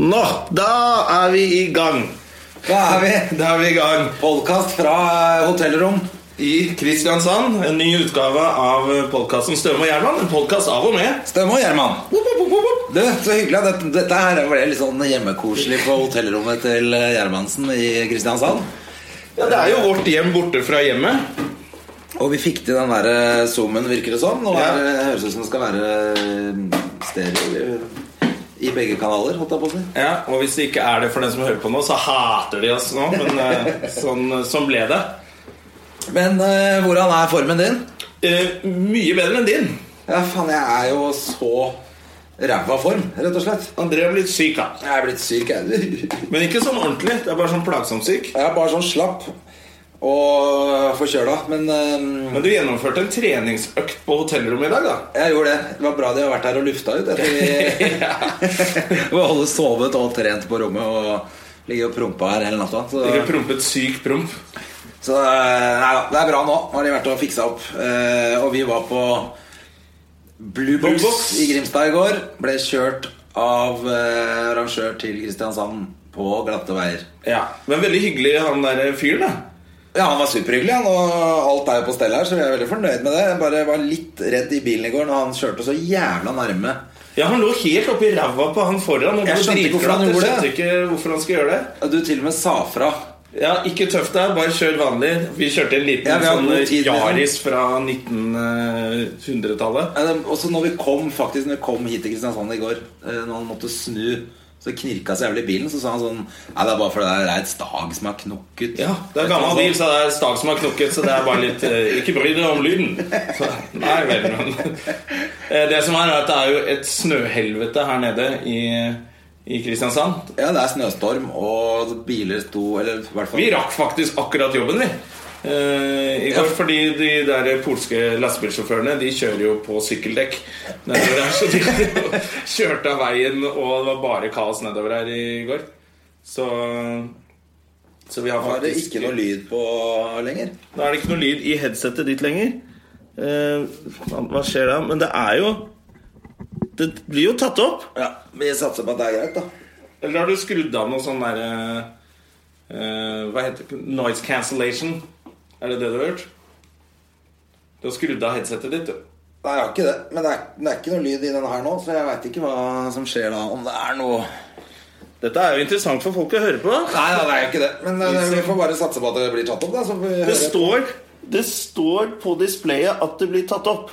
Nå, da er vi i gang. Da er vi, da er vi i gang. Podkast fra hotellrom I Kristiansand, en ny utgave av podkasten Støme og Gjerman. En podkast av og med. Støm og Gjerman. Du, så hyggelig. Dette, dette her ble litt sånn hjemmekoselig på hotellrommet til eh, Gjermansen i Kristiansand. Ja, Det er jo vårt hjem borte fra hjemmet. Og vi fikk til den der eh, zoomen, virker det som. Nå er, Ja. det høres ut som det skal være stereo i begge kanaler, holdt jeg på å si. Ja, Og hvis det ikke er det for den som hører på nå, så hater de oss nå. Men eh, sånn, sånn ble det. Men eh, hvordan er formen din? Eh, mye bedre enn din. Ja, faen, jeg er jo så ræva form, rett og slett. André er blitt syk, da. Jeg er blitt syk, jeg. Men ikke sånn ordentlig. Det er bare sånn plagsomt syk. Jeg er bare sånn slapp og forkjøla. Men eh, Men du gjennomførte en treningsøkt på hotellrommet i dag, da. jeg gjorde det. Det var bra de har vært her og lufta ut. Etter vi Vi har alle sovet og trent på rommet og ligger og prompa her hele natta. Så, Ikke prompet syk promp. så eh, nei, da, det er bra nå. Nå har de vært og fiksa opp. Eh, og vi var på Blue Box, Blue Box. i Grimstad i går. Ble kjørt av eh, arrangør til Kristiansand på glatte veier. Ja, Men veldig hyggelig han der fyren, da. Ja, han var superhyggelig, han, og alt er jo på stell her, så vi er veldig fornøyd med det. Jeg bare var litt redd i bilen i går når han kjørte så jævla nærme. Ja, Han lå helt oppi ræva på han foran. Og Jeg ble skjønte ikke hvorfor han dritglatt. gjorde Jeg det. skjønte ikke hvorfor han skulle gjøre det. Du til og med sa fra. Ja, Ikke tøft deg, bare kjør vanlig. Vi kjørte en liten Ja, vi har sånn god tid, liksom. Yaris fra 1900-tallet. Ja, det- Også når vi kom faktisk Når vi kom hit til Kristiansand i går, eh, når han måtte snu, så knirka så jævlig i bilen. Så sa han sånn Nei, det er bare fordi det er et stag som er knokket. Ja, Det er gammel bil, så det er stag som har knokket, så det er bare litt eh, Ikke bry deg om lyden. Så, nei vel, men Eh, Det som er, er at det er jo et snøhelvete her nede i, i Kristiansand. Ja, det er snøstorm, og biler sto Eller i hvert fall Vi rakk faktisk akkurat jobben, vi. eh, I går, Fordi de der polske lastebilsjåførene De kjører jo på sykkeldekk. Nedover her, så de kjørte av veien, og det var bare kaos nedover her i går. Så, så vi har var det faktisk ikke noe lyd på lenger. Da er det ikke noe lyd i headsetet ditt lenger. Eh, faen, hva skjer da? Men det er jo Det blir jo tatt opp. Ja, Vi satser på at det er greit, da. Eller har du skrudd av noe sånn derre eh, Hva heter det? Noise cancellation. Er det det du har gjort? Du har skrudd av headsetet ditt, du. Nei, jeg har ikke det. Men det er, det er ikke noe lyd i den her nå, så jeg veit ikke hva som skjer da. Om det er noe Dette er jo interessant for folk å høre på. Nei, da, det er jo ikke det. Men eh, vi får bare satse på at det blir tatt opp, da. Så får vi Det høre. står, det står på displayet at det blir tatt opp.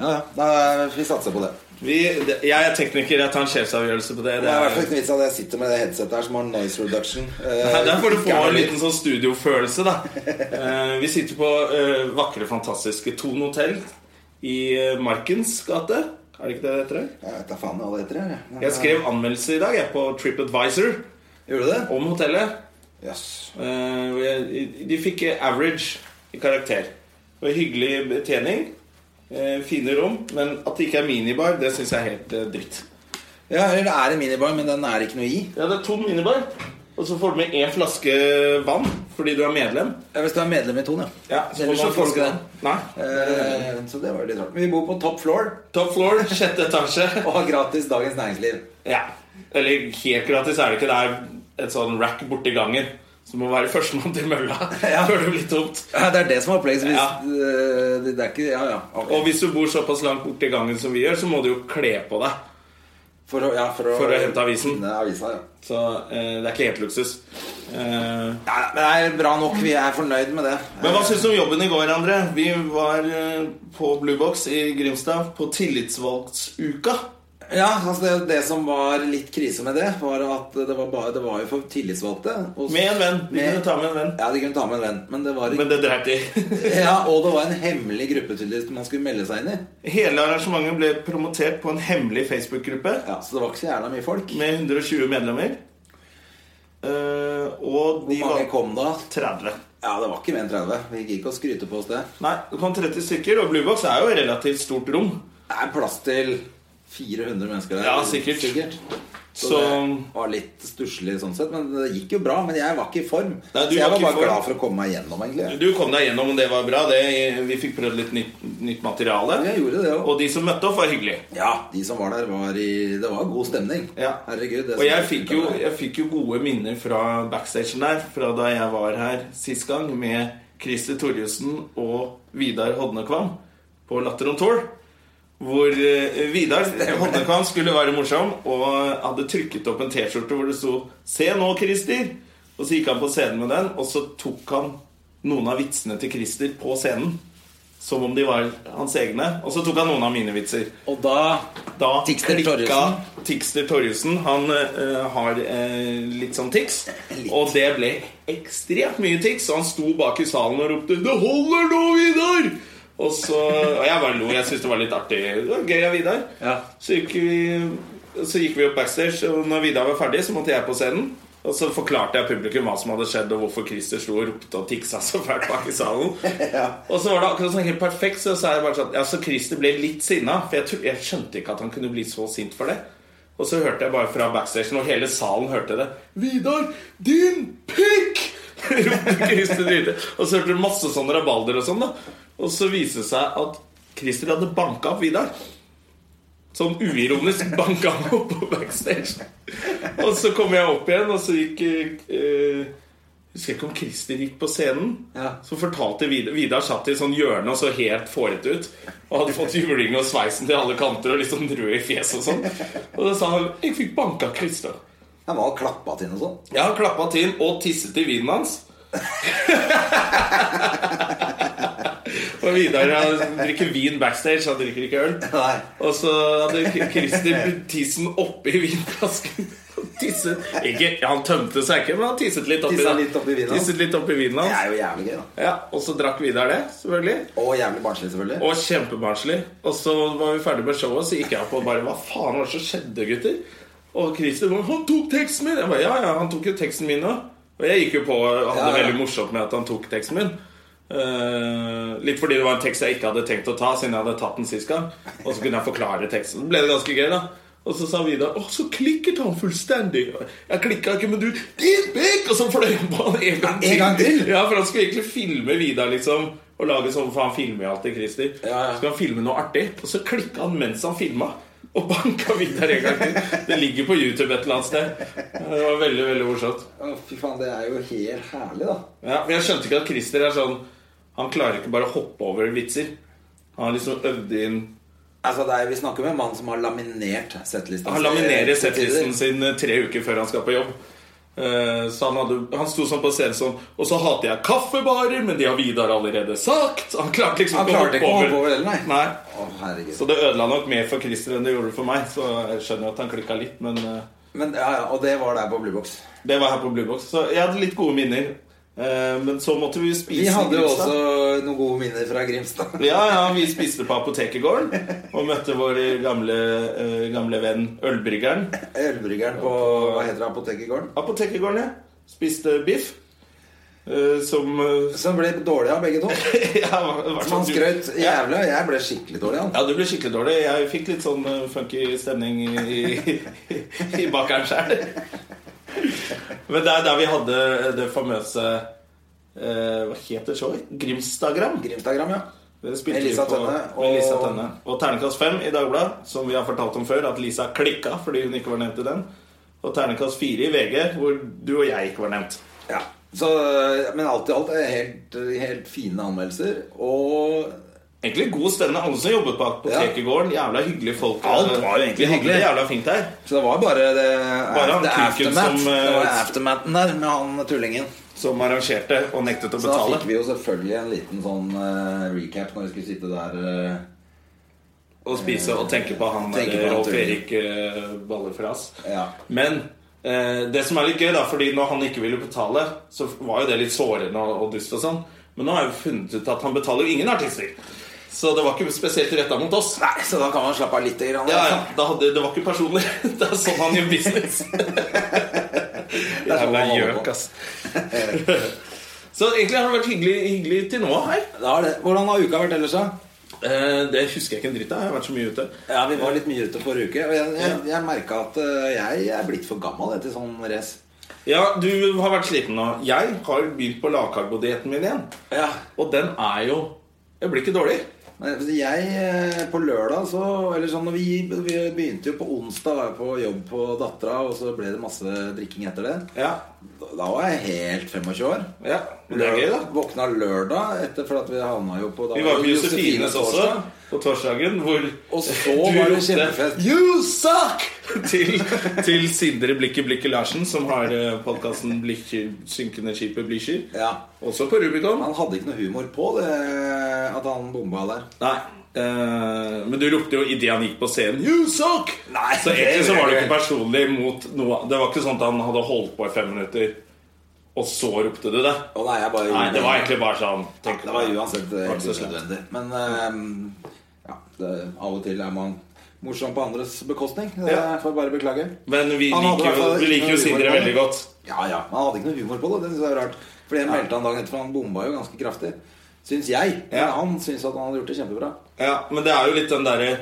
Ja, ja. Da, eh, vi satser på det. Vi, det- jeg er tekniker, jeg tar en sjefsavgjørelse på det. Det er i hvert fall ikke noe vits at jeg sitter med det headsetet her som har noise reduction. Eh, Nei, Der får du få ikke er noe en lyd. liten sånn studiofølelse, da. Eh, vi sitter på eh, vakre, fantastiske Thon hotell i eh, Markens gate. Er det ikke det det heter? Jeg vet da faen hva det heter. jeg. Ja. Jeg skrev anmeldelse i dag jeg, på TripAdvisor Gjorde du det? om hotellet. Jøss. Eh, og jeg- de fikk eh, average i karakter. Og hyggelig betjening. eh, fine rom. Men at det ikke er minibar, det syns jeg er helt eh, dritt. Ja, eller det er en minibar, men den er ikke noe i. Ja, det er tom minibar. Og så får du med én flaske vann fordi du er medlem. Ja, Hvis du er medlem i Ton, ja. Ja, så Ellers så får du man ikke flaske det. vann. Nei. Eh, så det var jo litt rart. Men vi bor på top floor Top floor, sjette etasje. og har gratis Dagens Næringsliv. Ja. Eller helt gratis er det ikke. Det er et sånn rack borti gangen. Så du må være førstemann til mølla Ja. før det blir tomt. Ja, det er det som er opplegget. så Hvis, Ja. eh, det, det er ikke Ja, ja. ok. Og hvis du bor såpass langt borti gangen som vi gjør, så må du jo kle på deg. For å, ja, for å, For å hente avisen. finne avisa, ja. Så eh, det er ikke helt luksus. Eh, Nei, nei, men det er bra nok. Vi er fornøyd med det. men hva syns du om jobben i går, André? Vi var eh, på Blue Box i Grimstad på tillitsvalgtsuka. Ja, altså det, det som var litt krise med det, var at det var, bare, det var jo for tillitsvalgte. og- Med en venn. De Med- kunne ta med en venn. Ja, de kunne ta med en venn. Men det var, Men det dreit de i. ja, og det var en hemmelig gruppe tydeligvis man skulle melde seg inn i. Hele arrangementet ble promotert på en hemmelig Facebook-gruppe Ja, Så det var ikke så jævla mye folk. med 120 medlemmer. Eh, og de Hvor mange var kom da? 30. Ja, det var ikke mer enn 30. Vi gikk ikke og skryte på oss det. Nei, det kom 30 stykker, og Bluebox er jo et relativt stort rom. Det er plass til 400 mennesker der. Ja, sikkert. Så, Så- det var litt stusslig sånn sett. Men det gikk jo bra. Men jeg var ikke i form. Nei, du så jeg var var ikke i bare form. glad for å komme meg gjennom, egentlig. Du kom deg gjennom, og det var bra. Det, vi fikk prøvd litt nytt, nytt materiale. Jeg gjorde det òg. Og de som møtte opp, var hyggelige. Ja, de som var der, var i Det var god stemning. Ja. Herregud. det Og jeg som- fikk, jo, jeg fikk jo gode minner fra backstagen der, fra da jeg var her sist gang med Christer Torjussen og Vidar Hodnekvam på Latter on Tour. Hvor eh, Vidar Hodnekvam skulle være morsom og hadde trykket opp en T-skjorte hvor det sto 'Se nå, Christer'. Og så gikk han på scenen med den, og så tok han noen av vitsene til Christer på scenen. Som om de var hans egne. Og så tok han noen av mine vitser. Og da Da Tixter klikka Torjussen. Tixter Torjussen. Han eh, har eh, litt sånn tics, Litt. og det ble ekstremt mye tics. Og han sto bak i salen og ropte 'Det holder nå, Vidar!' Og så, og jeg bare lo. Jeg syntes det var litt artig. Det var gøy av Vidar. Ja. Så, gikk vi, så gikk vi opp backstage, og når Vidar var ferdig, så måtte jeg på scenen. Og så forklarte jeg publikum hva som hadde skjedd, og hvorfor Christer sto og ropte og tiksa så fælt bak i salen. Og så var det akkurat sånn helt perfekt, så sa jeg bare sånn Ja, så Christer ble litt sinna, for jeg, tro- jeg skjønte ikke at han kunne bli så sint for det. Og så hørte jeg bare fra backstagen, og hele salen hørte det. 'Vidar, din pikk!' ropte Christer Dyhre. Og så hørte du masse sånn rabalder og sånn, da. Og så viste det seg at Christer hadde banka opp Vidar. Sånn uironisk banka han opp på backstage. Og så kom jeg opp igjen, og så gikk eh, Husker jeg ikke om Christer gikk på scenen. Ja. Så fortalte Vidar Vidar satt i et sånn hjørne og så helt fårete ut. Og hadde fått juling og sveisen til alle kanter og litt sånn rød i fjeset og sånn. Og da sa han 'Jeg fikk banka Christer'. Han var klappa til sånn. noe sånt. Jeg har klappa til og tisset i vinen hans. og Vidar han drikker vin backstage, han drikker ikke øl. Nei. Og så hadde Christer putt tissen oppi vinflasken. og Tisset. Ikke, ja, han tømte seg ikke, men han tisset litt oppi Tisset da. litt oppi vinen hans. Tisset litt oppi vinen Det hans. er jo jævlig gøy, da. Ja, og så drakk Vidar det, selvfølgelig. Og jævlig barnslig, selvfølgelig. Og kjempebarnslig. Og så var vi ferdig med showet, så gikk jeg opp og bare Hva faen var det som skjedde, gutter? Og Christer bare Han tok teksten min! Jeg bare, ja, ja, han tok jo teksten min òg. Og jeg gikk jo på og hadde Ja, det ja. veldig morsomt med at han tok teksten min. Eh, litt fordi det var en tekst jeg ikke hadde tenkt å ta, siden jeg hadde tatt den sist gang. Og så kunne jeg forklare teksten. Ble det ganske gøy, da. Og så sa Vidar Å, så klikket han fullstendig. Jeg klikka ikke, men du Din pikk! Og så fløy han på han en gang En gang til? ja, for han skulle egentlig filme Vidar, liksom. Og lage sånn, for han filmer jo alltid Christer. Ja, ja. Skulle han filme noe artig, og så klikka han mens han filma. Og banka Vidar en gang til. Det ligger på YouTube et eller annet sted. Det var veldig, veldig morsomt. Å, fy faen, det er jo helt herlig, da. Ja, men jeg skjønte ikke at Christer er sånn Han klarer ikke bare å hoppe over vitser. Han har liksom øvd inn Altså, det er, Vi snakker med en mann som har laminert eh, settlista. Han laminerer settlisten sin eh, tre uker før han skal på jobb. Eh, Så han, hadde, han sto sånn på scenen sånn Og så hater jeg kaffebarer, men de har Vidar allerede sagt. Han klarte liksom Han klarte ikke å hoppe over det, nei. Nei. Å, herregud. Så det ødela nok mer for Christer enn det gjorde for meg. Så jeg skjønner jo at han klikka litt, men eh, Men, ja, ja, og det var der på Bluebox. det var her på Blue Box. Så jeg hadde litt gode minner. Eh, Men så måtte vi jo spise Vi hadde jo i Grimstad. også noen gode minner fra Grimstad. Ja, ja, vi spiste på apotekergården og møtte vår gamle, eh, gamle venn ølbryggeren. Ølbryggeren på hva heter det, apoteket i gården. Apotekergården, ja. Spiste biff. eh, Som eh, Som ble dårlig av begge to. ja, hva- hva- Som han skrøt jævlig av. Jeg ble skikkelig dårlig av. Ja, du ble skikkelig dårlig. Jeg fikk litt sånn eh, funky stemning i, i, i bakeren sjøl. Men det er der vi hadde det famøse eh, Hva heter showet? Grimstagram. Grimstagram, ja. Det spilte Med vi Lisa på- Tønne, Med Lisa og- Tønne. Og terningkast fem i Dagbladet, som vi har fortalt om før, at Lisa klikka fordi hun ikke var nevnt i den. Og terningkast fire i VG, hvor du og jeg ikke var nevnt. ja. Så, men alt i alt er helt, helt fine anmeldelser. Og Egentlig god stemning. Alle som jobbet på apotekegården, jævla hyggelige folk. Alt var jo egentlig Vi hadde hyggelig. det Jævla fint her. Så det var bare det, Bare han det kuken aftermath. som, eh, det var aftermathen der med han tullingen. Som arrangerte og nektet å Så da betale. fikk vi jo selvfølgelig en liten sånn eh, recap når vi skulle sitte der eh, å spise og tenke på han Tenke der på han, Rolf Tore. Erik eh, Ballefras. Ja. Men eh, det som er litt gøy, da, fordi når han ikke ville betale, så var jo det litt sårende og, og dust og sånn. Men nå har jeg jo funnet ut at han betaler jo ingen artister. Så det var ikke spesielt retta mot oss. Nei, så da kan man slappe av litt. Grann, altså. Ja, ja, da hadde, det var ikke personlig. Det er sånn han gjør business. sånn Jævla han holder på. gjøk, ass. Så egentlig har det vært hyggelig, hyggelig til nå her. Da er det. Hvordan har uka vært ellers, da? Eh, det husker jeg ikke en dritt av. Jeg har vært så mye ute. Ja, Vi var litt mye ute forrige uke, og jeg, jeg, jeg merka at eh, jeg er blitt for gammel jeg, til sånn race. Ja, du har vært sliten nå. Jeg har begynt på lavkarbodietten min igjen. Ja. Og den er jo Jeg blir ikke dårlig. Men altså, Jeg, eh, på lørdag så Eller sånn, når vi, vi begynte jo på onsdag, var jeg på jobb på dattera, og så ble det masse drikking etter det. Ja. Da da var jeg helt 25 år. ja. Men det er gøy, da. Våkna lørdag etter, for at vi havna jo på da Vi var var på det Josefines også, torsdag. på torsdagen, hvor Og så du var det ropte, kjempefest. You suck! Til, til Sindre Blikket Blikket Larsen, som har podkasten 'Synkende skipet Blysky'. Ja. Også på Rubicon. Han hadde ikke noe humor på det eh, at han bomba der. Nei. eh, men du ropte jo idet han gikk på scenen 'You suck!' Nei, så egentlig det så var det gjorde jeg ikke personlig mot noe. Det var ikke sånn at han hadde holdt på i fem minutter, og så ropte du det. Og nei, jeg bare Nei, det var egentlig bare sånn. tenk Det på var det. uansett eh, Det var ikke så helt slemt. nødvendig. Men ehm, ja, det, av og til er man morsom på andres bekostning. Det Ja. får jeg bare beklage. Men vi Han hadde i liker hvert jo, fall vi ikke liker noe jo Sindre humor på veldig det. godt. Ja, ja, men Han hadde ikke noe humor på det. Det synes jeg er rart. Fordi jeg meldte han dagen etter, for han bomba jo ganske kraftig. Syns jeg. Men Ja. han syns at han hadde gjort det kjempebra. Ja, men det er jo litt den derre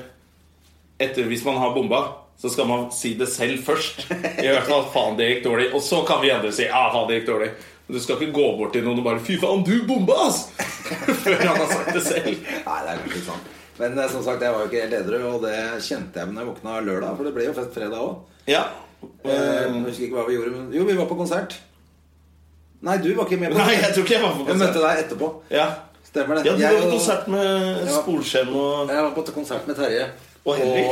Etter hvis man har bomba, så skal man si det selv først. I hvert fall faen, det gikk dårlig. Og så kan vi andre si ja, faen, det gikk dårlig. Men du skal ikke gå bort til noen og bare 'fy faen, du bomba', ass! Før han har sagt det selv. Nei, det er kanskje ikke sant. Men eh, som sagt, jeg var jo ikke helt edru, og det kjente jeg da jeg våkna lørdag. For det ble jo fest fredag òg. Ja. Jeg husker ikke hva vi gjorde, men jo, vi var på konsert. Nei, du var ikke med på Nei, jeg tror ikke jeg var på Jeg møtte konsert. deg etterpå. Ja. Stemmer det. ja, du Jeg var på og- konsert med Ja. Sporskjem og Jeg var på konsert med Terje Og Henrik.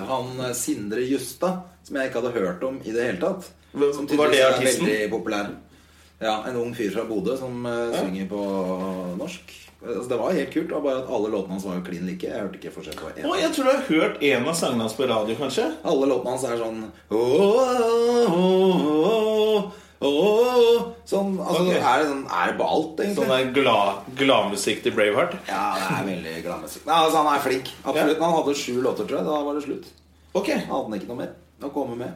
og han eh, Sindre Justad, som jeg ikke hadde hørt om i det hele tatt. Hvem- Som var tydeligvis det er artisten? Veldig populær. Ja, En ung fyr fra Bodø som eh, synger på norsk. Altså, det var helt kult, det var bare at alle låtene hans var jo klin like. Jeg hørte ikke forskjell på Å, én. jeg tror du har hørt en av sangene hans på radio, kanskje? Alle låtene hans er sånn «Åh, åh, åh, åh, åh». Sånn, altså, Ok. er, det sånn, er det på alt, egentlig? Sånn der glad- gladmusikk til Braveheart. Ja, det er veldig gladmusikk. Nei, altså, han er flink. Absolutt. Han hadde sju låter, tror jeg. Da var det slutt. Ok, Han hadde ikke noe mer å komme med.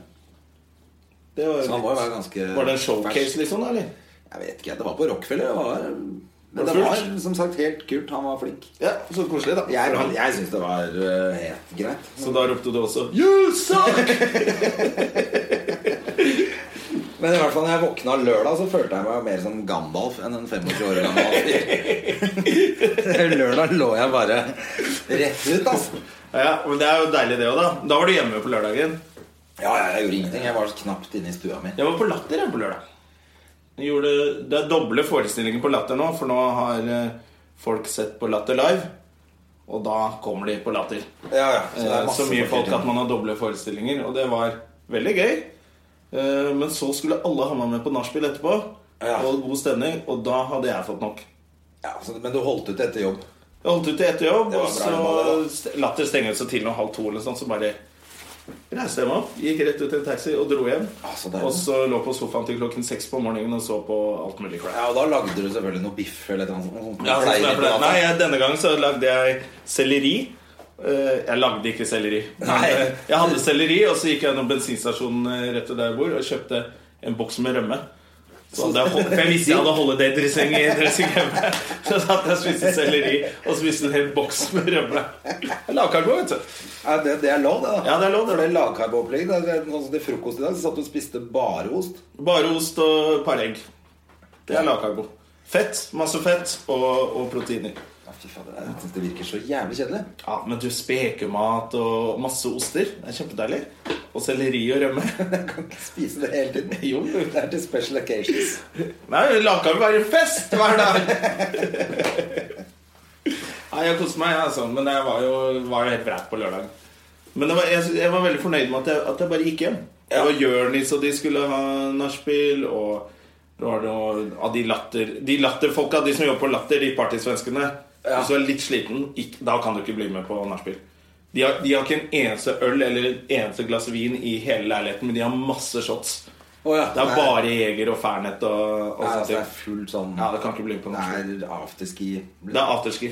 det var, Så han må jo være ganske var det en showcase, fersk. liksom? da, eller? Jeg vet ikke, det var på Rockefeller. Det var, men det det fullt? var som sagt helt kult. Han var flink. Ja, Så koselig, da. Jeg, For han- jeg syns det var eh, helt greit. Så da ropte du også 'You suck!' Men i hvert fall når jeg våkna lørdag, så følte jeg meg mer som Gandalf enn en 25 år gammel fyr. lørdag lå jeg bare rett ut, altså. Ja, men Det er jo deilig, det òg, da. Da var du hjemme på lørdagen. Ja, ja, jeg gjorde ingenting. Jeg var knapt inne i stua mi. Jeg var på Latter jeg, på lørdag. Jeg gjorde, det er doble forestillinger på Latter nå, for nå har eh, folk sett på Latter live. Og da kommer de på Latter. Ja, ja, så Eh, Så, det er masse så mye folk fortellinger. at man har doble forestillinger, og det var veldig gøy. Eh, Men så skulle alle ha meg med på nachspiel etterpå, Ja. og god stemning, og da hadde jeg fått nok. Ja, så, men du holdt ut etter jobb. Jeg holdt ut til etter jobb, Det var og bra jobba, det da. så st- latter stenget seg til noen halv to eller sånn, så bare reiste jeg meg opp, gikk rett ut i en taxi og dro hjem. Ah, så deilig. og så lå på sofaen til klokken seks på morgenen og så på alt mulig crap. Ja, Og da lagde du selvfølgelig noe biff eller et eller annet sånt. Ja, sånn som jeg Pleier pleier. ikke å ha Nei, det. jeg, denne gangen så lagde jeg selleri. Eh, Jeg lagde ikke selleri. Men, Nei. eh, Jeg hadde selleri, og så gikk jeg gjennom bensinstasjonen eh, rett ved der jeg bor og kjøpte en boks med rømme. Så hadde jeg hold- for jeg visste jeg hadde holiday-dressing i dressing hjemme. Så satt jeg og spiste selleri og spiste en hel boks med rømme. Lavkarbo, vet du. Ja, det, det er lov, det. da Ja, det er lov, det. For det er lavkarbopplegg. det er Sånn som til frokost i dag, så satt du og spiste bare ost. Bare ost og par egg. Det er lavkarbo. Fett. Masse fett og, og proteiner. Ja, fy fader, jeg synes det virker så jævlig kjedelig. Ja, men du, spekemat og masse oster. Det er kjempedeilig. Og selleri og rømme. Jeg kan ikke spise det hele tiden. Jo. Det er til special occasions. Nei, Langkav være fest hver dag! Nei, jeg koste meg, jeg, altså. Men jeg var jo, var jo helt vræt på lørdag. Men det var, jeg, jeg var veldig fornøyd med at jeg, at jeg bare gikk hjem. Det var Jørnis, og de skulle ha nachspiel, og det var noe av de latter De latterfolka, de som jobber på Latter, de partysvenskene. Hvis du er litt sliten, ikk- da kan du ikke bli med på nachspiel. De har, de har ikke en eneste øl eller en eneste glass vin i hele leiligheten, men de har masse shots. Å ja, Det er nei. bare Jeger og Fernet og, og Nei, sånt. altså, det er fullt sånn Ja, det kan ikke bli på Det norsk. er afterski. Det er afterski.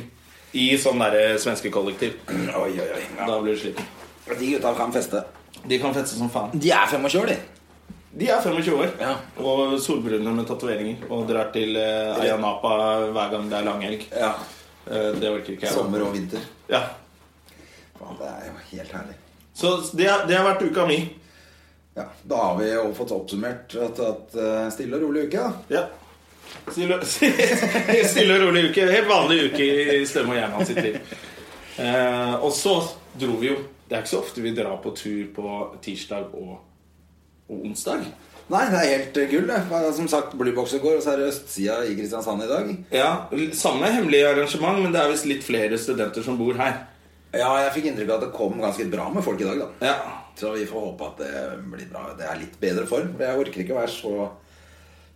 I sånn derre svenske kollektiv. Oi, oi, oi. Da blir du sliten. De gutta kan feste. De kan feste som faen. De er 25, de. De er 25 år Ja. og solbrune med tatoveringer og drar til eh, Ayanapa hver gang det er langhelg. Ja. Eh, det orker ikke jeg. Sommer og vinter. Ja. Faen, det er jo helt herlig. Så det, har- det har vært uka mi. Ja, Da har vi jo fått oppsummert at, at eh, stille og rolig uke, da. Ja. Stille, stille og rolig uke. Helt vanlig uke i Støm og Gjerman sitt liv. Eh, og så dro vi jo Det er ikke så ofte vi drar på tur på tirsdag og, og onsdag. Nei, det er helt eh, gull, det. Hva- Som sagt, Blueboxer går, og så er det østsida i Kristiansand i dag. Ja, Samme hemmelige arrangement, men det er visst litt flere studenter som bor her. Ja, jeg fikk inntrykk av at det kom ganske bra med folk i dag, da. Ja, Så vi får håpe at det blir bra. Det er litt bedre form. for Jeg orker ikke å være så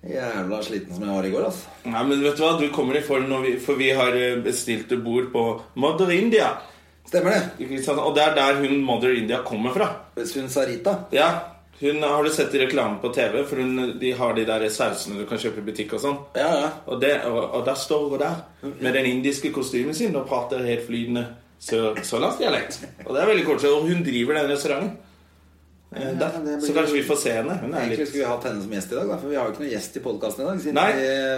jævla sliten som jeg var i går, altså. Nei, men vet du hva, du kommer i form når vi, For vi har eh, bestilt et bord på Mother India Stemmer det. ikke sant? Og det er der hun Mother India kommer fra Sun Sarita. Ja, hun har du sett i reklame på TV For hun, de har de der sausene du kan kjøpe i butikk og sånn Ja, ja. og, det, og, og der står hun der Med den indiske kostymen sin Og prater helt flydende så, sørlandsdialekt Og det er veldig kort Og hun driver den restauranten eh, der. det blir- Så kanskje vi får se henne Hun er Egentlig litt skulle vi hatt henne som gjest i dag, da, for vi har jo ikke noen gjest i podkasten i dag. Siden Nei.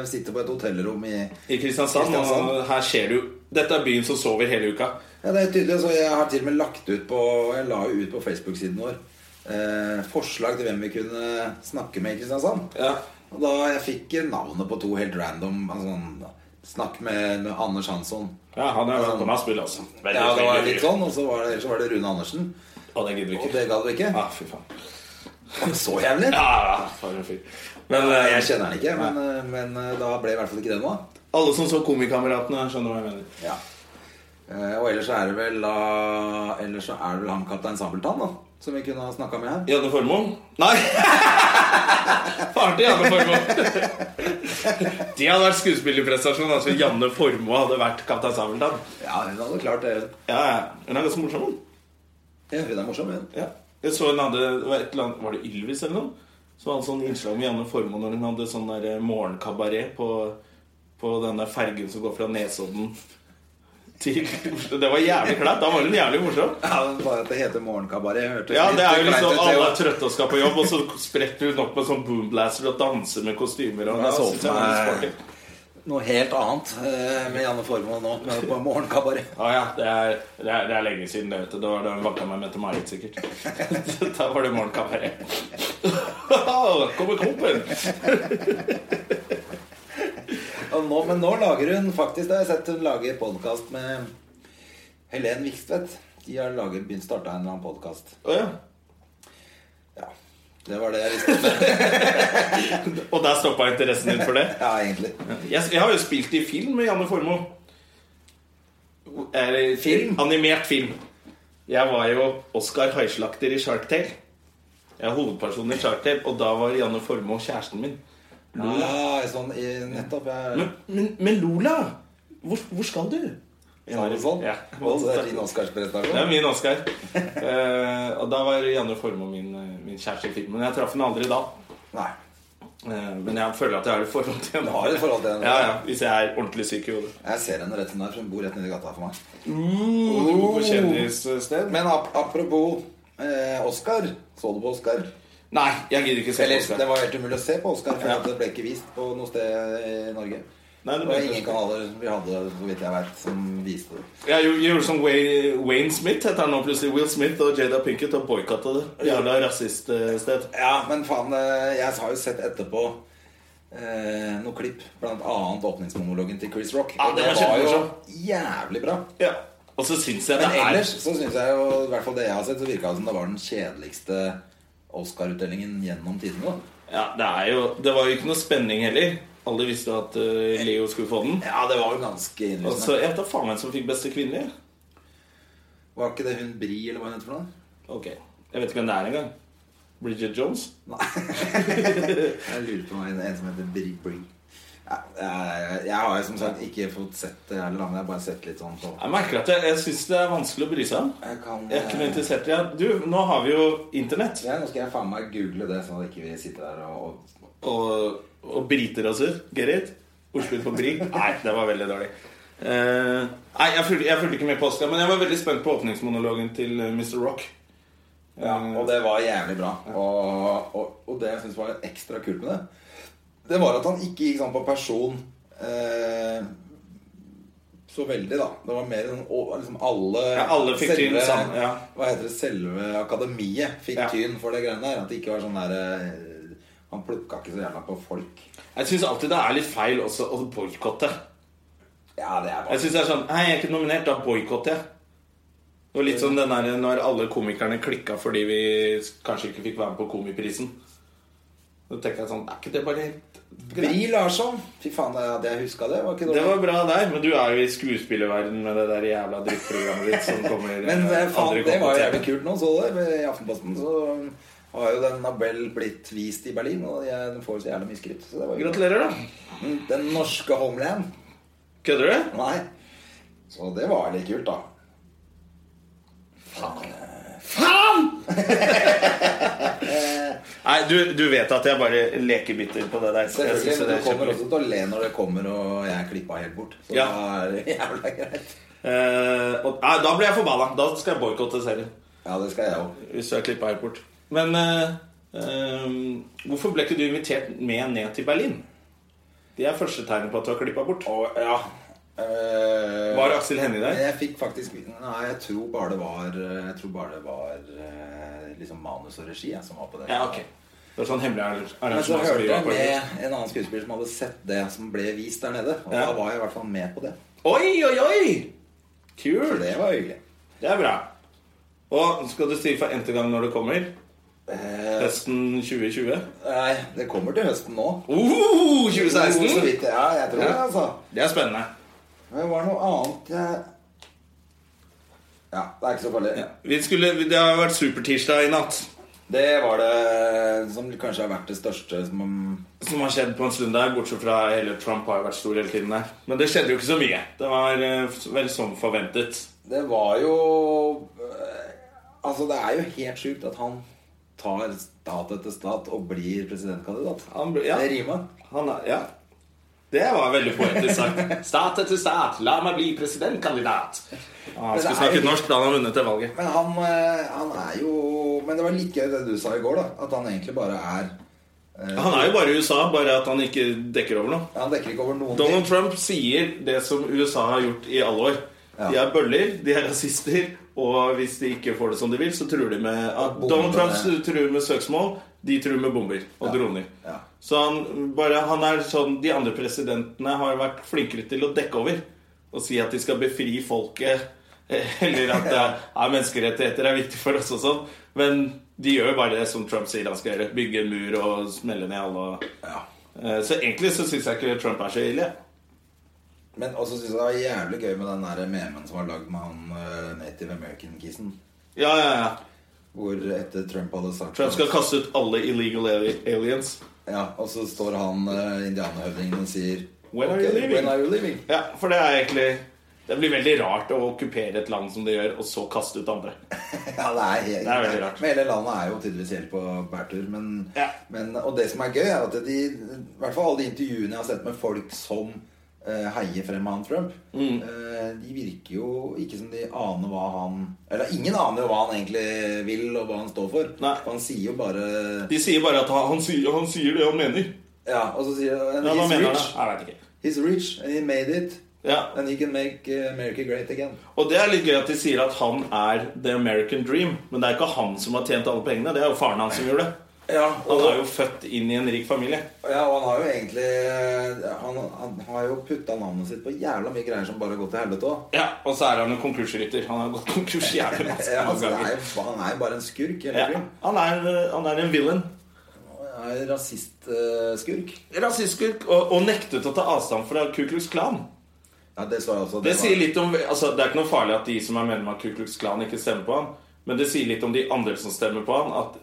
vi sitter på et hotellrom i i Kristiansand, Kristiansand. Og sånn. her skjer det jo Dette er byen som sover hele uka Ja, det er tydelig, så Jeg har til og med lagt ut på Jeg la jo ut på Facebook-siden vår eh, forslag til hvem vi kunne snakke med i Kristiansand. Ja. Og da jeg fikk navnet på to helt random altså, sånn, Snakk med, med Anders Hansson. Sånn. Ja, han er veldig masse spill, altså. Veldig, Ja, det var veldig litt sånn, og så var det, ellers var det Rune Andersen. Å, det gidder vi Og ikke. det gadd vi ikke. Ja, fy faen. Så jævlig! Ja, ja, for en fyr. Men eh, Jeg kjenner den ikke, men, eh, men eh, da ble i hvert fall ikke den nå. alle som så Komikameratene, skjønner hva jeg mener. Ja. Eh, og ellers så er det vel da Ellers så er det vel han kaptein Sabeltann, da. Som vi kunne ha snakka med her. Janne Formoe? Nei! Faren til Janne Formoe. Det hadde vært skuespillerprestasjon. Altså Janne Formoe hadde vært Kaptein Sabeltann. Ja, hun hadde klart det. Ja, ja. Hun er ganske morsom. hun. Ja, hun er morsom, hun. Ja. Jeg så hun hadde det var, et eller annet, var det Ylvis eller noe? Så hadde sånn innslag med Janne Formoe når hun hadde sånn der eh, morgenkabaret på, på denne fergen som går fra Nesodden til Oslo. Det var jævlig kleint. Da var hun jævlig morsom. Ja, men Bare at det heter Morgenkabaret. hørtes Ja, litt det er jo kleint ut, liksom det Alle jo. er trøtte og skal på jobb, og så spretter hun opp med sånn boomblaster og danser med kostymer. Og Jeg så synes for jeg var litt meg- sporty. Noe helt annet eh, med Janne Formoe nå. men På Morgenkabaret. Ja, ja, det er, det, er, det er lenge siden. det vet du. Da var det hun vakta meg med til Marit, sikkert. da var det morgenkabaret. Kommer klumpen! Og nå, men nå lager hun faktisk Det har jeg sett hun lager podkast med Helen Vikstvedt. De har laget, begynt starta en eller annen podkast. Å, ja. Ja. Det var det jeg visste. Og der stoppa interessen din for det? Ja, egentlig. Jeg, jeg har jo spilt i film med Janne Formoe. Eller Film? Animert film. Jeg var jo Oscar Haislakter i Shark Tale. Jeg er hovedpersonen i Shark Tale, og da var Janne Formoe kjæresten min. Lola. Ja, sånn, i- nettopp. Jeg, Men, men, men Lola, hvor, hvor skal du? Sånn. Ja. Og det er din Oscarsprestasjon. Det er min Oscar. Eh, og da var Janne Formoe min, min kjæreste i filmen. Jeg traff henne aldri da. Nei. Eh, men jeg føler at jeg har et forhold til henne. Du har et forhold til henne. Ja, ja, Hvis jeg er ordentlig syk i hodet. Jeg ser henne rett som der, for hun bor rett nedi gata for meg. Oh, du bor på kjendissted? Men ap apropos eh, Oscar. Så du på Oscar? Nei, jeg gidder ikke se på Eller, Oscar. det var helt umulig å se på Oscar, for Ja. at det ble ikke vist på noe sted i Norge. Nei, det det ble var ikke ingen Oscar. kanaler vi hadde, så vidt jeg vet, som viste det. Jeg gjorde- gjorde som Wayne, Wayne Smith heter han nå plutselig. Will Smith og Jada Pinkett har boikotta det. Jævla rasiststed. Ja, men faen, eh, jeg har jo sett etterpå eh, noen klipp, blant annet åpningsmonologen til Chris Rock. Ja, Og det var jo kjempemorsom. jævlig bra. Ja. Og så syns jeg det Men er ellers så syns jeg jo, i hvert fall det jeg har sett, så virka det som det var den kjedeligste Oscar-utdelingen gjennom tidene. da. Ja, det er jo Det var jo ikke noe spenning heller. Alle visste at eh, Leo skulle få den. Ja, det var jo ganske innlysende. Og så jeg tar faen meg hvem som fikk beste kvinnelige. Var ikke det hun Bri, eller hva hun heter for noe? Ok, Jeg vet ikke hvem det er engang. Bridget Jones? Jeg lurer på meg, en som heter Bri Bri. Jeg, jeg har jo som sagt ikke fått sett det hele landet. Jeg har bare sett litt sånn på Jeg merker at jeg, jeg syns det er vanskelig å bry seg om. Jeg kan eh, Jeg er ikke noe interessert i det. Du, nå har vi jo Internett. Ja, Nå skal jeg faen meg google det, sånn at ikke vi sitter der og, og Og, og briter oss ut. Get it? Oslo på brik? Nei, det var veldig dårlig. Eh, nei, jeg fulgte, jeg fulgte ikke med på Oscar, men jeg var veldig spent på åpningsmonologen til eh, Mr. Rock. Eh, Ja, og det var jævlig bra. Og, og, og det jeg syns var ekstra kult med det, det var at han ikke gikk sånn på person eh, så veldig, da. Det var mer sånn å, liksom alle Ja, alle fikk tyn sammen, ja. Hva heter det, selve akademiet fikk Ja. tyn for det greiene der. At det ikke var sånn der eh, Han plukka ikke så jævla på folk. Jeg syns alltid det er litt feil også å boikotte. Ja, det er Jeg bare synes det er sånn Hei, jeg er ikke nominert, da boikotter jeg. Det var litt som den der når alle komikerne klikka fordi vi kanskje ikke fikk være med på Komiprisen. Da tenker jeg sånn Er ikke det bare helt Bri Larsson! Fy faen, det- at jeg huska det, var ikke Det dårlig. var bra der, men du er jo i skuespillerverden med det der jævla drittprogrammet ditt som kommer Men eh, eh, faen, aldri det var kommer jo til. jævlig kult nå, så du det? I Aftenposten så har jo den Nabel blitt vist i Berlin, og jeg, den får jo så jævlig mye skritt. Så det var jo Gratulerer, da. Mm, Den norske homeland. Kødder du? Nei. Så det var litt kult, da. Faen. Nei, du, du vet at jeg bare leker bitter på det der. så jeg Selvfølgelig, men synes det du er kommer kjempegøy. også til å le når det kommer, og jeg klippa helt bort. Så Ja. da er det jævla greit. Eh, og, nei, da blir jeg forbanna. Da skal jeg boikotte serien. Ja, det skal jeg òg. Hvis du er klippa helt bort. Men eh, eh, hvorfor ble ikke du invitert med ned til Berlin? Det er første tegnet på at du har klippa bort. Og ja Eh, Var Aksel Hennie der? Jeg fikk faktisk Nei, jeg tror bare det var eh, Jeg tror bare det var eh, liksom manus og regi jeg, som var på det. Ja, ok. Det var sånn hemmelig arrange- Men så arrangement. som hørte vi var jeg på. med en annen skuespiller som hadde sett det som ble vist der nede. Og Ja. da var jeg i hvert fall med på det. Oi, oi, oi! Så Kult. det var hyggelig. Det er bra. Og skal du si for n-te gang når det kommer? Eh, Høsten 2020? nei, det kommer til høsten nå. Oh, Så 2016! vidt, ja, jeg tror det, Ja. altså. Det er spennende. Men det var noe annet jeg Ja, det er ikke så farlig. Vi skulle, det har vært supertirsdag i natt. Det var det som kanskje har vært det største som som har skjedd på en stund der, bortsett fra hele Trump har jo vært stor hele tiden der. Men det skjedde jo ikke så mye. Det var eh, vel som forventet. Det var jo eh, Altså, det er jo helt sjukt at han tar stat etter stat og blir presidentkandidat. Han ble- ja. Det rimer. Han, er- ja. Det var veldig poetisk sagt. Stat etter stat, la meg bli presidentkandidat. Ah, Men Han det er skulle jo- snakke norsk da han har vunnet det valget. Men han, eh, han er jo Men det var litt gøy det du sa i går, da. At han egentlig bare er Han er jo bare i USA, bare at han ikke dekker over noe. Han dekker ikke over noen Donald Trump sier det som USA har gjort i alle år. De Ja. er bøller, de er rasister, og hvis de ikke får det som de vil, så truer de med at bomber. Donald Trump truer med søksmål, de truer med bomber og droner. Ja. Så han, bare, han er sånn De andre presidentene har vært flinkere til å dekke over og si at de skal befri folket, eh, eller at eh, ja, menneskerettigheter er viktig for oss og sånn. Men de gjør jo bare det som Trump sier han skal gjøre. Bygge en mur og smelle ned alle. Ja. Eh, Så egentlig så syns jeg ikke Trump er så ille. Men også syns jeg det var jævlig gøy med den der memen som var lagd med han eh, native american-kisen. Ja, ja, ja. Hvor etter Trump hadde sagt Trump skal kaste ut alle illegal ali- aliens. Ja, Og så står han eh, indianerhøvdingen og sier When are you «Ok, leaving?» When are you leaving? Ja, for det er egentlig Det blir veldig rart å okkupere et land som det gjør, og så kaste ut andre. Ja, det er, helt, Det er veldig rart. Men hele landet er jo tydeligvis helt på bærtur. Men, Ja. men, og det som er gøy, er at de, i hvert fall alle de intervjuene jeg har sett med folk som eh, heier frem han Trump, Mm. eh, de virker jo ikke som de aner hva han Eller ingen aner jo hva han egentlig vil, og hva han står for. Nei. Han sier jo bare De sier bare at han, han, sier, han sier det han mener. Ja, og så sier han Ja, hva He's mener han da? rich. Jeg vet ikke. He's rich, and he made it. Ja. And he can make eh, America great again. Og det er litt gøy at de sier at han er the American dream. Men det er ikke han som har tjent alle pengene. Det er jo faren hans som gjorde det. Ja, Han er jo født inn i en rik familie. Ja, og han har jo egentlig Han, han har jo putta navnet sitt på jævla mye greier som bare har gått til helvete òg. Ja, Og så er han en konkursrytter. Han har gått konkurs jævlig masse Ja, altså, det er ganger. jo- han er jo bare en skurk. Hele Ja, tiden. han, er, han er en villain. Han er Rasistskurk. Rasistisk og, og nektet å ta avstand fra Ku Klux Klan. Ja, det står jeg også. Det var- sier litt om altså, Det er ikke noe farlig at de som er medlem av Ku Klux Klan, ikke stemmer på han, men det sier litt om de andre som stemmer på han, at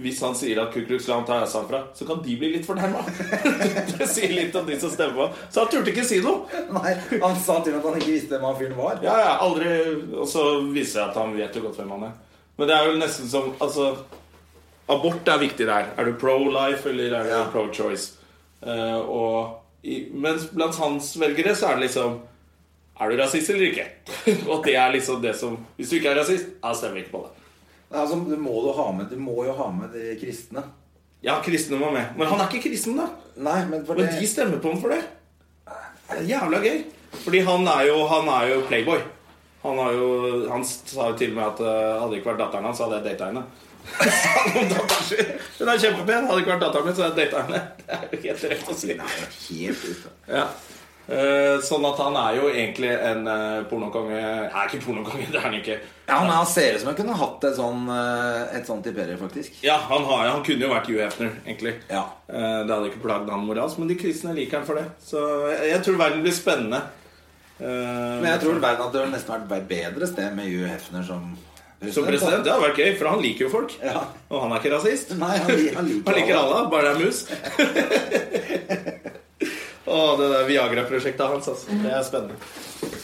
Hvis han sier at Ku Klux Klan tar æsa fra, så kan de bli litt fornærma. det sier litt om de som stemmer på ham. Så han turte ikke si noe. Nei, Han sa til at han ikke visste hvem han fyren var. Ja, ja, aldri Og så viser det at han vet jo godt hvem han er. Men det er jo nesten som Altså, abort er viktig der. Er du pro-life, eller er du Ja. pro-choice? Eh, og i, mens blant hans velgere så er det liksom Er du rasist eller ikke? og det er liksom det som Hvis du ikke er rasist, da stemmer vi ikke på det. Nei, Altså, du, må jo ha med, du må jo ha med de kristne. Ja, kristne var med. Men han er ikke kristen, da. Nei, men for Men det de stemmer på ham for det. Det er jævla gøy. Fordi han er jo, han er jo playboy. Han, har jo, han sa jo til og med at eh, hadde det ikke vært datteren hans, så hadde jeg data henne. Sa han om datteren sin. Hun er kjempepen. Hadde det ikke vært datteren min, så hadde jeg data henne. Det er jo helt rett å si. Nei, helt ute. Ja. Eh, Sånn at han er jo egentlig en eh, pornokonge Nei, ikke pornokonge, det er han ikke. Ja, men Han ser ut som han kunne hatt et sånn, eh, et sånt imperium, faktisk. Ja, han, har, han kunne jo vært Hugh Hefner, egentlig. Ja. Eh, Det hadde ikke plagd han moralsk, men de kristne liker han for det. Så jeg, jeg tror verden blir spennende. Eh, Men jeg tror verden hadde nesten vært et bedre sted med Hugh Hefner som president. Som president, det hadde vært gøy, for han liker jo folk. Ja. Og han er ikke rasist. Nei, han liker- han liker alle. alle, bare det er mus. Å, det der Viagra-prosjektet hans, altså. Det er spennende.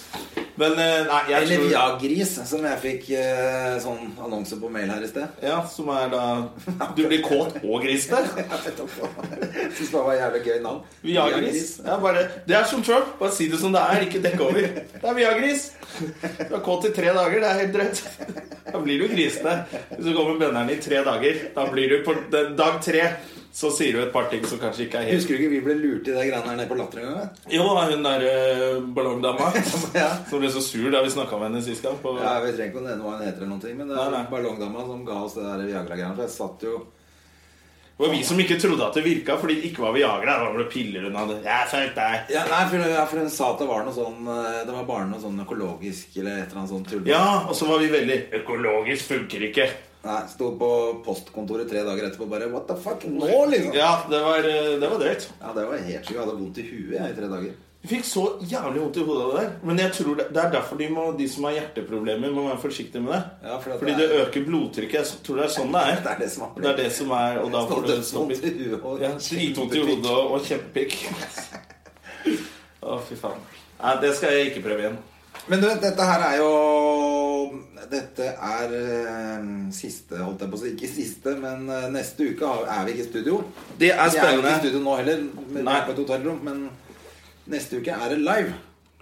Men eh, nei, jeg Eller tror Viagris, som jeg fikk eh, sånn annonse på mail her i sted. Ja, som er da Du blir kåt og grisete. Jeg vet ikke hva. Jeg synes det var et jævlig gøy navn. Viagris. Ja, bare, det er som Trump. Bare si det som det er, ikke dekk over. Det er Viagris. Du er kåt i tre dager, det er helt drøyt. Da blir du grisete. Hvis du går med bønneren i tre dager, da blir du på den- dag tre så sier du et par ting som kanskje ikke er helt Husker du ikke vi ble lurt i de greiene her nede på Latter en gang? vet du? Jo, da, hun der eh, ballongdama Ja. som ble så sur da vi snakka med henne sist gang. På, Ja, Vi trenger ikke å nevne hva han heter, eller noen ting, men det Nei, er nei. ballongdama som ga oss det der Viagra-greiene. For jeg satt jo Det var vi som ikke trodde at det virka, fordi det ikke var Viagra. Det var bare piller hun hadde. Jeg følte deg. ja, Nei, for, ja, for hun sa at det var noe sånn eh, Det var bare noe sånn økologisk eller et eller annet sånt tull. Ja, og så var vi veldig Økologisk funker ikke. Nei, Sto på postkontoret tre dager etterpå og bare What the fuck? Nå, liksom? Ja, det var, eh, det var drøyt. Ja, det var helt sjukt. Jeg hadde vondt i huet jeg, i tre dager. Jeg fikk så jævlig vondt i hodet av det der. Men jeg tror det, det er derfor de, må, de som har hjerteproblemer, må være forsiktige med det. Ja, for at fordi det det, er- øker blodtrykket. Jeg tror det er sånn det er. Det er det som er- det er det som er Og da Så får du sånn dødsvondt stopp i i huet og Ja, Dritvondt i kjempepikk. hodet og, og kjempepikk. Å, fy faen. Nei, det skal jeg ikke prøve igjen. Men du vet, dette her er jo Dette er eh, siste, holdt jeg på å si. Ikke siste, men eh, neste uke har- er vi ikke i studio. Det Vi er er jo ikke i spennende. studio nå heller, men, vi Nei. er på et hotellrom, men neste uke er det live.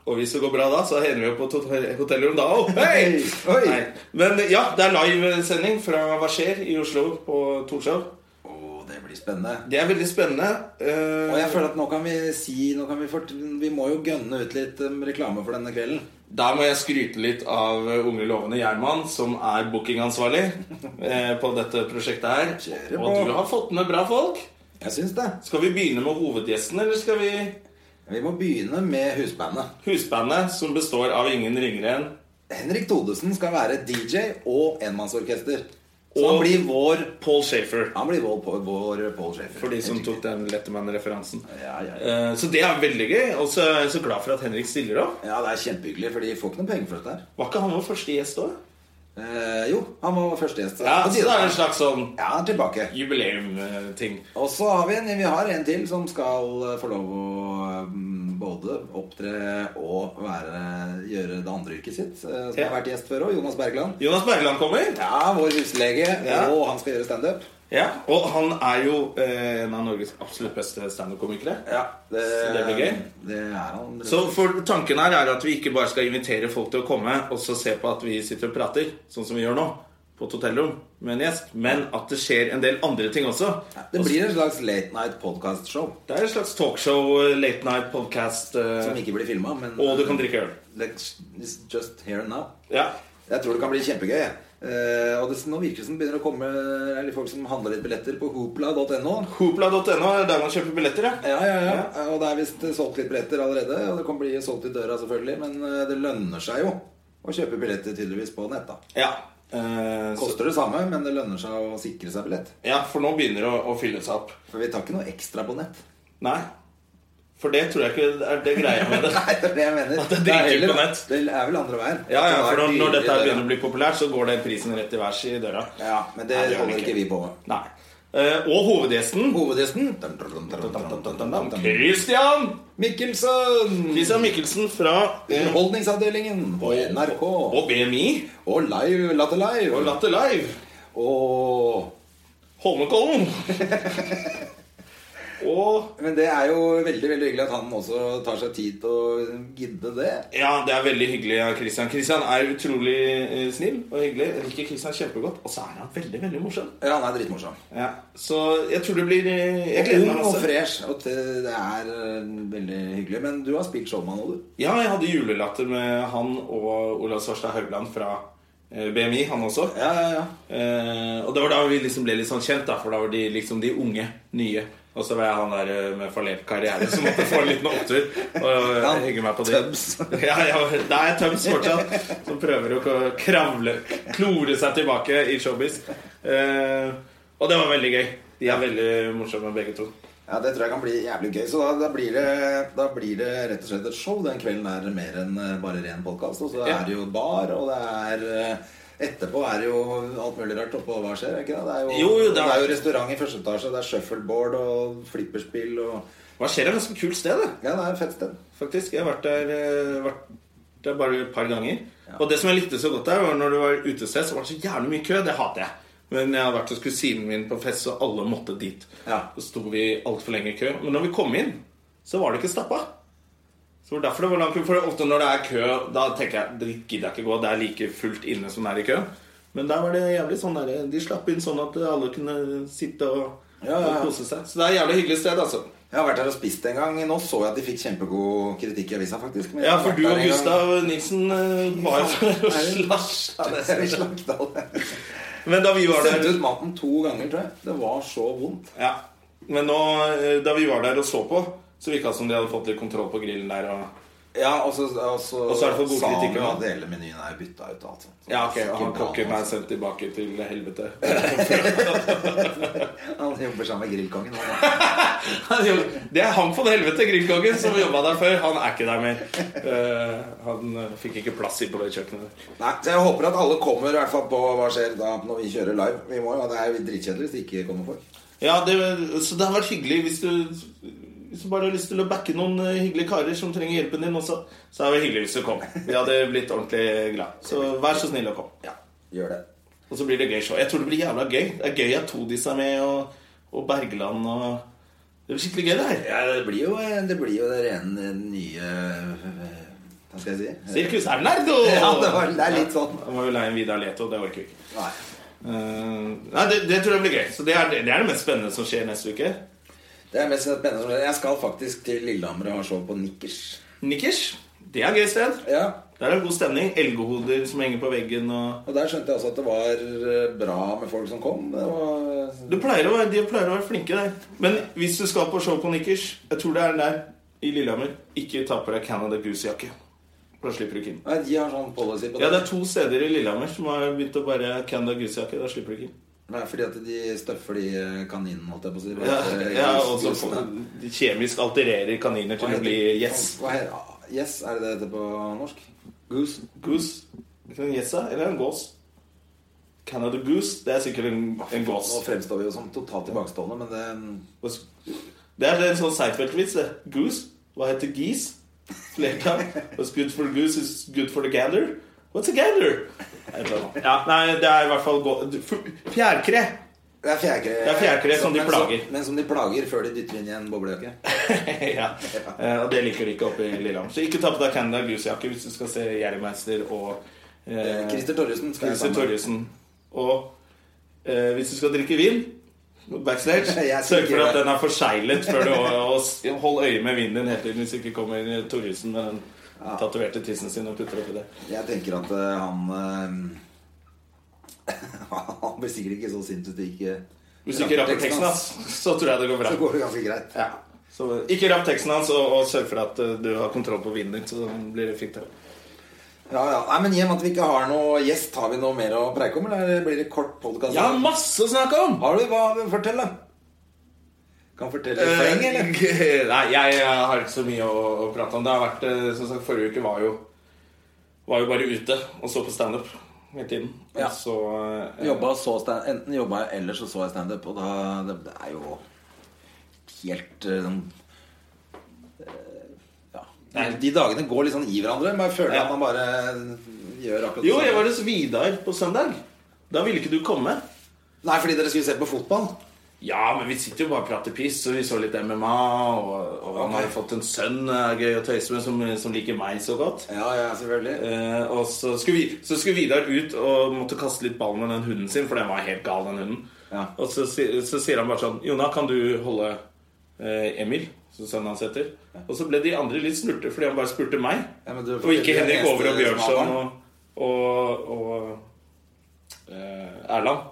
Og hvis det går bra da, så hender vi jo på et hotell- hotellrom da òg. Hei! Oi! Nei. Men ja, det er livesending fra Hva skjer i Oslo på Torshov. Å, det blir spennende. Det er veldig spennende. Eh, Og jeg føler at nå kan vi si nå kan vi, fort, vi må jo gønne ut litt eh, reklame for denne kvelden. Der må jeg skryte litt av eh, Unge lovende Gjerman, som er bookingansvarlig eh, på dette prosjektet her. Kjører på. Og du har fått med bra folk. Jeg syns det. Skal vi begynne med hovedgjesten, eller skal vi Vi må begynne med husbandet. Husbandet, som består av ingen ringere enn Henrik Todesen skal være DJ og enmannsorkester. Så Og- han blir vår Paul Shafer. Han blir vår, vår Paul Schäfer. For de som Helt tok den Letterman-referansen. Ja, ja, ja. Eh, Så det er veldig gøy. Og så er jeg så glad for at Henrik stiller opp. Ja, det er kjempehyggelig, for de får ikke noen penger for dette her. Var ikke han vår første gjest òg? Eh, jo, han var første gjest. Ja, På så tide. det er en slags sånn eh, Ja, han er tilbake. jubileum-ting. Og så har vi en, vi har en til som skal eh, få lov å mm, både opptre og være, gjøre det andre yrket sitt. eh, Som Ja. har vært gjest før òg. Jonas Bergland. Jonas Bergland kommer. Ja, vår huslege. Ja. Og han skal gjøre standup. Ja, Og han er jo eh, en av Norges absolutt beste standup-komikere. Ja, det, Så det blir gøy. Det er han. Så for tanken her er at vi ikke bare skal invitere folk til å komme og så se på at vi sitter og prater, sånn som vi gjør nå, på et hotellrom med en gjest, men at det skjer en del andre ting også. det blir en slags late night podcast-show. Det er et slags talkshow, eh, late night podcast eh, Som ikke blir filma, men Og du kan drikke øl. Let's it's just here and now. Ja. Jeg tror det kan bli kjempegøy. jeg. Eh, og det, nå virker det som det begynner å komme eller folk som handler litt billetter på hopla.no. Hopla.no er der man kjøper billetter, ja. Ja, ja, ja. Og det er visst solgt litt billetter allerede. Og det kan bli solgt i døra, selvfølgelig. Men eh, det lønner seg jo å kjøpe billetter tydeligvis på nett. da ja. Eh, så, Koster det samme, men det lønner seg å sikre seg billett. ja, for nå begynner det å, å fylle seg opp. For vi tar ikke noe ekstra på nett. Nei. For det tror jeg ikke er det greia med det. Nei, det er det jeg mener. At det er dritdyrt heller- på nett. Det er vel andre veien. Ja, ja, At for det var når, når dette her dyrere begynner å bli populært, så går den prisen rett i vers i døra. der. Ja, men det Nei, det gjør holder det ikke ikke. vi på med. Nei. Eh, og hovedgjesten Hovedgjesten Christian! Mikkelsen! Christian Mikkelsen fra Underholdningsavdelingen på NRK. og BMI Og Live Latter Live. og Latter Live. Og Holmenkollen. og Men det er jo veldig veldig hyggelig at han også tar seg tid til å gidde det. Ja, det er veldig hyggelig av Christian. Christian er utrolig eh, snill og hyggelig. Jeg liker Christian kjempegodt. Og så er han veldig, veldig morsom. Ja, han er dritmorsom. Ja. Så jeg tror det blir eh, Jeg gleder Ung meg og masse. fresh. Og det det er eh, veldig hyggelig. Men du har spilt showman òg, du. Ja, jeg hadde julelatter med han og Olav Svarstad Haugland fra eh, BMI, han også. Ja, ja, ja. Eh, og det var da vi liksom ble litt sånn kjent, da, for da var de liksom de unge, nye. Og så var jeg han der eh, med forlent karriere som måtte få en liten opptur. Og Ja, jeg hygge meg på det. tøms. ja, ja, det er tøms fortsatt. Som prøver å k- kravle, klore seg tilbake i showbiz. Eh, og det var veldig gøy. De er veldig morsomme, begge to. Ja, Det tror jeg kan bli jævlig gøy. Så da, da, blir det, da blir det rett og slett et show. Den kvelden er det mer enn eh, bare ren podkast. Og så Ja. er det jo bar, og det er eh, Etterpå er det jo alt mulig rart oppå hva skjer. er Ikke det? Det, er jo, Jo, jo, det det, er- er jo restaurant i første etasje, det er shuffleboard og flipperspill og Hva skjer? Det er et ganske kult sted, det. Ja, det er et fett sted. faktisk. Jeg har vært der, eh, vært der bare et par ganger. Og det som jeg likte så godt der, var når det var utested, så var det så jævlig mye kø. Det hater jeg. Men jeg har vært hos kusinen min på fest, så alle måtte dit. Ja. Så sto vi altfor lenge i kø. Men når vi kom inn, så var det ikke stappa. Så det var derfor det var lang kø. For ofte når det er kø, da tenker jeg det gidder jeg ikke gå. Det er like fullt inne som det er i kø. Men der var det jævlig sånn der, de slapp inn sånn at alle kunne sitte og, Ja, ja, ja. og kose seg. Så det er et jævlig hyggelig sted, altså. Jeg har vært her og spist en gang. Nå så jeg at de fikk kjempegod kritikk i avisa, faktisk. Men jeg Ja, har for vært du der og en gang. Gustav Nilsen eh, var jo for å Nei. slasje Ja, det er slakta det. Men da vi var Sendte der ut maten to ganger, tror jeg. Det var så vondt. ja. Men nå, eh, da vi var der og så på, så virka det som de hadde fått litt kontroll på grillen der. Og... Ja, og så, og så, Og så er det for god sa han kritikk, jo ja. at hele menyen er bytta ut og alt sånt. Så Ja, ok, det er ikke Han bra, kokken er altså. sendt tilbake til helvete. Han jobber sammen med grillkongen. han, da. Han jobb- Det er han for helvete, grillkongen, som jobba der før. Han er ikke der mer. Eh, Han eh, fikk ikke plass i på det kjøkkenet. der. Nei, så Jeg håper at alle kommer i hvert fall på Hva skjer da når vi kjører live. Vi må jo, Det er jo dritkjedelig hvis det ikke kommer folk. Ja, det, så det har vært hyggelig hvis du, hvis du bare har lyst til å backe noen eh, hyggelige karer som trenger hjelpen din også, så er det hyggelig hvis du kom. Vi hadde blitt ordentlig glad. Så vær så snill å komme. Ja, gjør det. Og så blir det gøy show. Jeg tror det blir jævla gøy. Det er gøy at Todis er med, og, og Bergland og Det blir skikkelig gøy, det her. Ja, det blir jo eh, det, blir jo det rene nye eh, Hva skal jeg si? Sirkus Ernardo! Ja, det, var, det er litt sånn. Da må vi leie inn Vidar Leto. Det orker vi ikke. Nei. Eh, nei, det, det tror jeg blir gøy. Så det er det, er det mest spennende som skjer neste uke. Det er mest spennende som skjer. Jeg skal faktisk til Lillehammer og ha show på Nikkers. Nikkers. Det er et gøy sted. Ja, Der er det god stemning. Elgehoder som henger på veggen og og Der skjønte jeg også at det var eh, bra med folk som kom. Det var, Du pleier å være, de pleier å være flinke der. Men hvis du skal på show på Nikkers Jeg tror det er der i Lillehammer. Ikke ta på deg Canada Goose-jakke. For Da slipper du ikke inn. nei, de har sånn policy på det. Ja, Det er to steder i Lillehammer som har begynt å bare Canada Goose-jakke. Da slipper du ikke inn. Nei, fordi at de støffer de eh, kaninene, holdt jeg på å si. Ja, Eh, ja, gris- og så får- grisene. de kjemisk altererer kaniner til å bli gjess. Hva heter ah, Yes, er det det heter på norsk? Goose? Goose. Er det en gjess, da? eller en gås? Canada Goose, det er sikkert en, en Nå gås. fremstår vi jo som totalt tilbakestående, men eh, det Det er en sånn Seinfeld-vits, det. Goose. Hva heter geese? Flertall. What's good for the goose is good for the gander. What's a gander? Jeg vet ikke. Ja, nei, det er i hvert fall gå- f- fjærkre. Det er fjærkre. Det er fjærkre som de men plager. men som de plager før de dytter inn i en boblejakke. ja. Eh, Og det liker de ikke oppe i Lillehammer. Så ikke ta på deg Canada Goose-jakke hvis du skal se Jeremeister og Eh, eh, Christer Torjussen skal jeg Christer sammen med. Torjussen. Og eh, hvis du skal drikke vin backstage, Jeg skal sørg ikke for gjøre at det. den er forseglet før du og, og hold øye med vinen din hele tiden hvis ikke kommer Torjussen med den tatoverte tissen sin og putter oppi det. Jeg tenker at eh, han eh, Han blir sikkert ikke så eh, sint hvis det ikke Hvis du ikke rapper teksten hans, så tror jeg det går bra. Så går det ganske greit. Ja. Så ikke rapp teksten hans, og, og sørg for at eh, du har kontroll på vinen din, så blir det fint. Altså- her. Ja, ja. Nei, men I og med at vi ikke har noe gjest, har vi noe mer å preike om? Eller blir det kort podkast? Jeg har masse å snakke om! Har du hva? Fortell, da. Kan fortelle et poeng, eller? Eh, Nei, jeg har ikke så mye å, å prate om. Det har vært, eh, som sagt, Forrige uke var jo, var jo bare ute og så på standup hele tiden. Ja. Og så eh, Jobba og så stand, enten jobba jeg eller så så jeg standup, og da det, det er jo helt eh, sånn eh, Ja. Nei. De dagene går litt sånn i hverandre. Man føler Ja. at man bare gjør akkurat det Jo, samme. jeg var hos Vidar på søndag. Da ville ikke du komme. Nei, fordi dere skulle se på fotball. Ja, men vi sitter jo bare og prater piss, og vi så litt MMA, og, og han Ok. har jo fått en sønn eh, gøy å tøyse med som, som liker meg så godt. Ja, ja, selvfølgelig. Eh, og så skulle, vi, så skulle Vidar ut og måtte kaste litt ball med den hunden sin, for den var helt gal, den hunden. Ja. Og så, si- så sier han bare sånn Jona, kan du holde eh, Emil? Som sønnen hans heter. Og så ble de andre litt snurte fordi han bare spurte meg. Ja, men du- og ikke du er Henrik eneste Over og Bjørnson smaleren. og, og, og eh, Erland.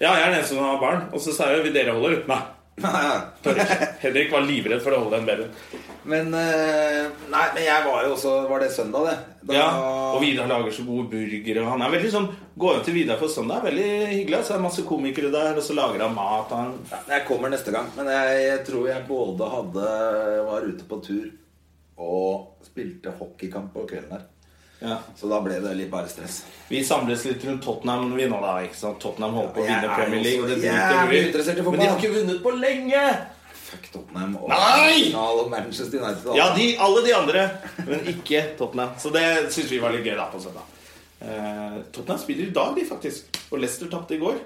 Ja, jeg er den eneste som har barn. Og så sa jeg vil dere holde? Nei. Eh. tør ikke. Henrik var livredd for å holde den babyen. Men eh, Nei, men jeg var jo også Var det søndag, det? Da- Ja, og Vidar lager så gode burgere. og Han er veldig sånn, Går hjem til Vidar på søndag, er veldig hyggelig. Så er det masse komikere der, og så lager han mat. Han, Ja, Jeg kommer neste gang, men jeg, jeg tror jeg både hadde var ute på tur og spilte hockeykamp på kvelden der. ja. Så da ble det litt bare stress. Vi samles litt rundt Tottenham vi nå, da. ikke sant? Tottenham holder på å Jeg vinne er Premier jo League. så og det jævlig driter vi i. interessert i fotball. Men de har ikke vunnet på lenge! Fuck Tottenham og Nei! Arsenal og Manchester United. og Ja, alt. de, alle de andre, men ikke Tottenham. Så det syns vi var litt gøy da på søndag. Eh, Tottenham spiller i dag, de faktisk. Og Leicester tapte i går.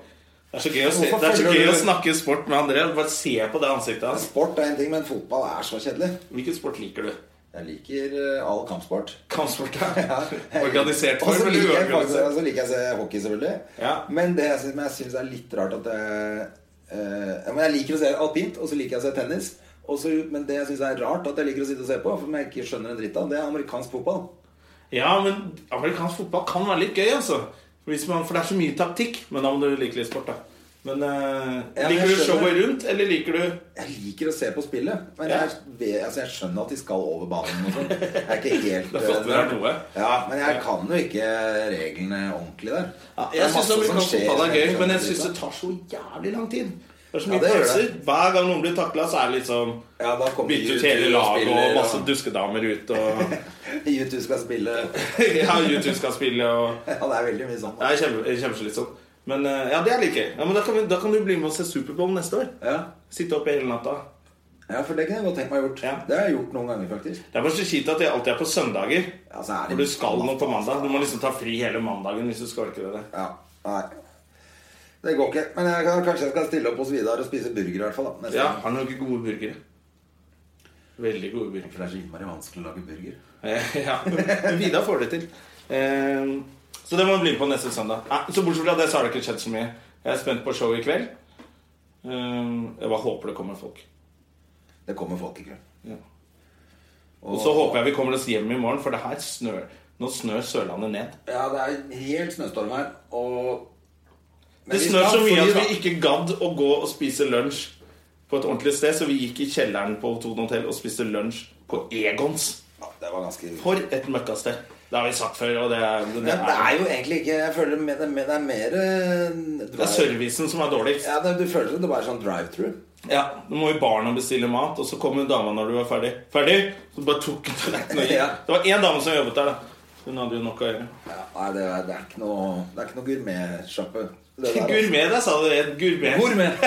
Det er så gøy å, se, Hvorfor det er så følger gøy du- å snakke sport med André. Bare se på det ansiktet hans. Sport er en ting, men fotball er så kjedelig. Hvilken sport liker du? Jeg liker eh, all kampsport. Kampsport, ja. Jeg- Organisert Og så form eller liker jeg faktisk- uorganisert? Og så liker jeg å se hockey, selvfølgelig. Ja. Men det jeg syns- men jeg syns er litt rart at jeg, eh, Men jeg liker å se alpint, og så liker jeg å se tennis. Og så- men det jeg syns er rart at jeg liker å sitte og se på, for jeg ikke skjønner en dritt av, det er amerikansk fotball. Ja, men amerikansk fotball kan være litt gøy, altså. For, hvis man, for det er så mye taktikk. Men da må du like litt sport, da. Men eh, Ja, men jeg Liker du skjønner. showet rundt, eller liker du Jeg liker å se på spillet, men Ja. jeg, vet- altså, jeg skjønner at de skal over banen. Og sånn. jeg er ikke helt Det er flott med det er noe. Ja, Men jeg kan jo ikke reglene ordentlig der. Det er Jeg syns masse som amerikansk skjer fotball som jeg er gøy, ikke skjønner men dritt jeg syns av. det tar så jævlig lang tid. Det er så Ja, mye det gjør pauser. det. Hver gang noen blir takla, så er det litt sånn Ja, da kommer Bytter ut YouTube hele laget spiller, og masse og- duskedamer ut og YouTube skal spille Ja, YouTube skal spille og Ja, det er veldig mye sånn. Det er kjempe- kjempeslitsomt. Men eh, ja, det er litt gøy. Ja, men da, kan vi, da kan du bli med og se Superbowl neste år. Ja. Sitte oppe hele natta. ja, for det kunne jeg godt tenkt meg gjort. Ja. Det har jeg gjort noen ganger, faktisk. Det er bare så kjipt at det alltid er på søndager. Ja, så er det- Når du skal noe på mandag. Du må liksom ta fri hele mandagen hvis du skal orke det. Ja, nei Det går ikke. Men jeg kan, kanskje jeg skal stille opp hos Vidar og spise burger, i hvert fall. da, neste Ja, gang. har noen gode burgere. Veldig gode burgere. For det er så innmari vanskelig å lage burger. Eh, ja, men Vidar får det til. Eh, Så det må du bli med på neste søndag. Nei, så bortsett fra det, så har det ikke skjedd så mye. Jeg er spent på showet i kveld. Eh, Jeg bare håper det kommer folk. Det kommer folk i kveld. Ja. Og så håper jeg vi kommer oss hjem i morgen, for det her snør. Nå snør Sørlandet ned. Ja, det er helt snøstorm her, og Men Det vi snør skal- så mye fordi at vi da- ikke gadd å gå og spise lunsj på et ordentlig sted, så vi gikk i kjelleren på Toten hotell og spiste lunsj på Egons. ja, Det var ganske For et møkkasted. Det har vi sagt før, og det er, det Men det er er, jo egentlig ikke Jeg føler det er mer, det er mer eh, det er drive- servicen som er dårligst. Ja, det, du føler det bare er sånn drive-through. Ja, Nå må jo barna bestille mat, og så kom hun dama når du var ferdig. Ferdig? Så bare tok hun tallerkenen og Ja. gikk. Det var én dame som jobbet der, da. Hun hadde jo nok å gjøre. Ja, nei, det er, det er ikke noe Det er ikke noe gourmetsjappe. det der, altså. Gourmet, der sa du det. Gourmet. Gourmet.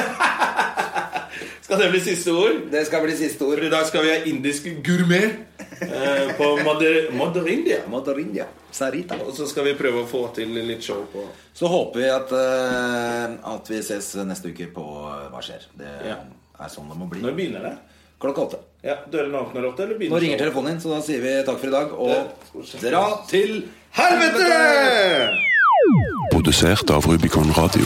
Skal det bli siste ord? Det skal bli siste ord. For i dag skal vi ha indisk gourmet eh, på Mader- Maderindia. Madarindia. Sarita. Og så skal vi prøve å få til litt show på Så håper vi at, eh, at vi ses neste uke på eh, Hva skjer. Det Ja. er sånn det må bli. Når begynner det? Klokka åtte. Ja, Dørene åpner åtte, eller Nå begynner ringer telefonen din, så da sier vi takk for i dag og dra til Helvete! Produsert av Rubicon Radio.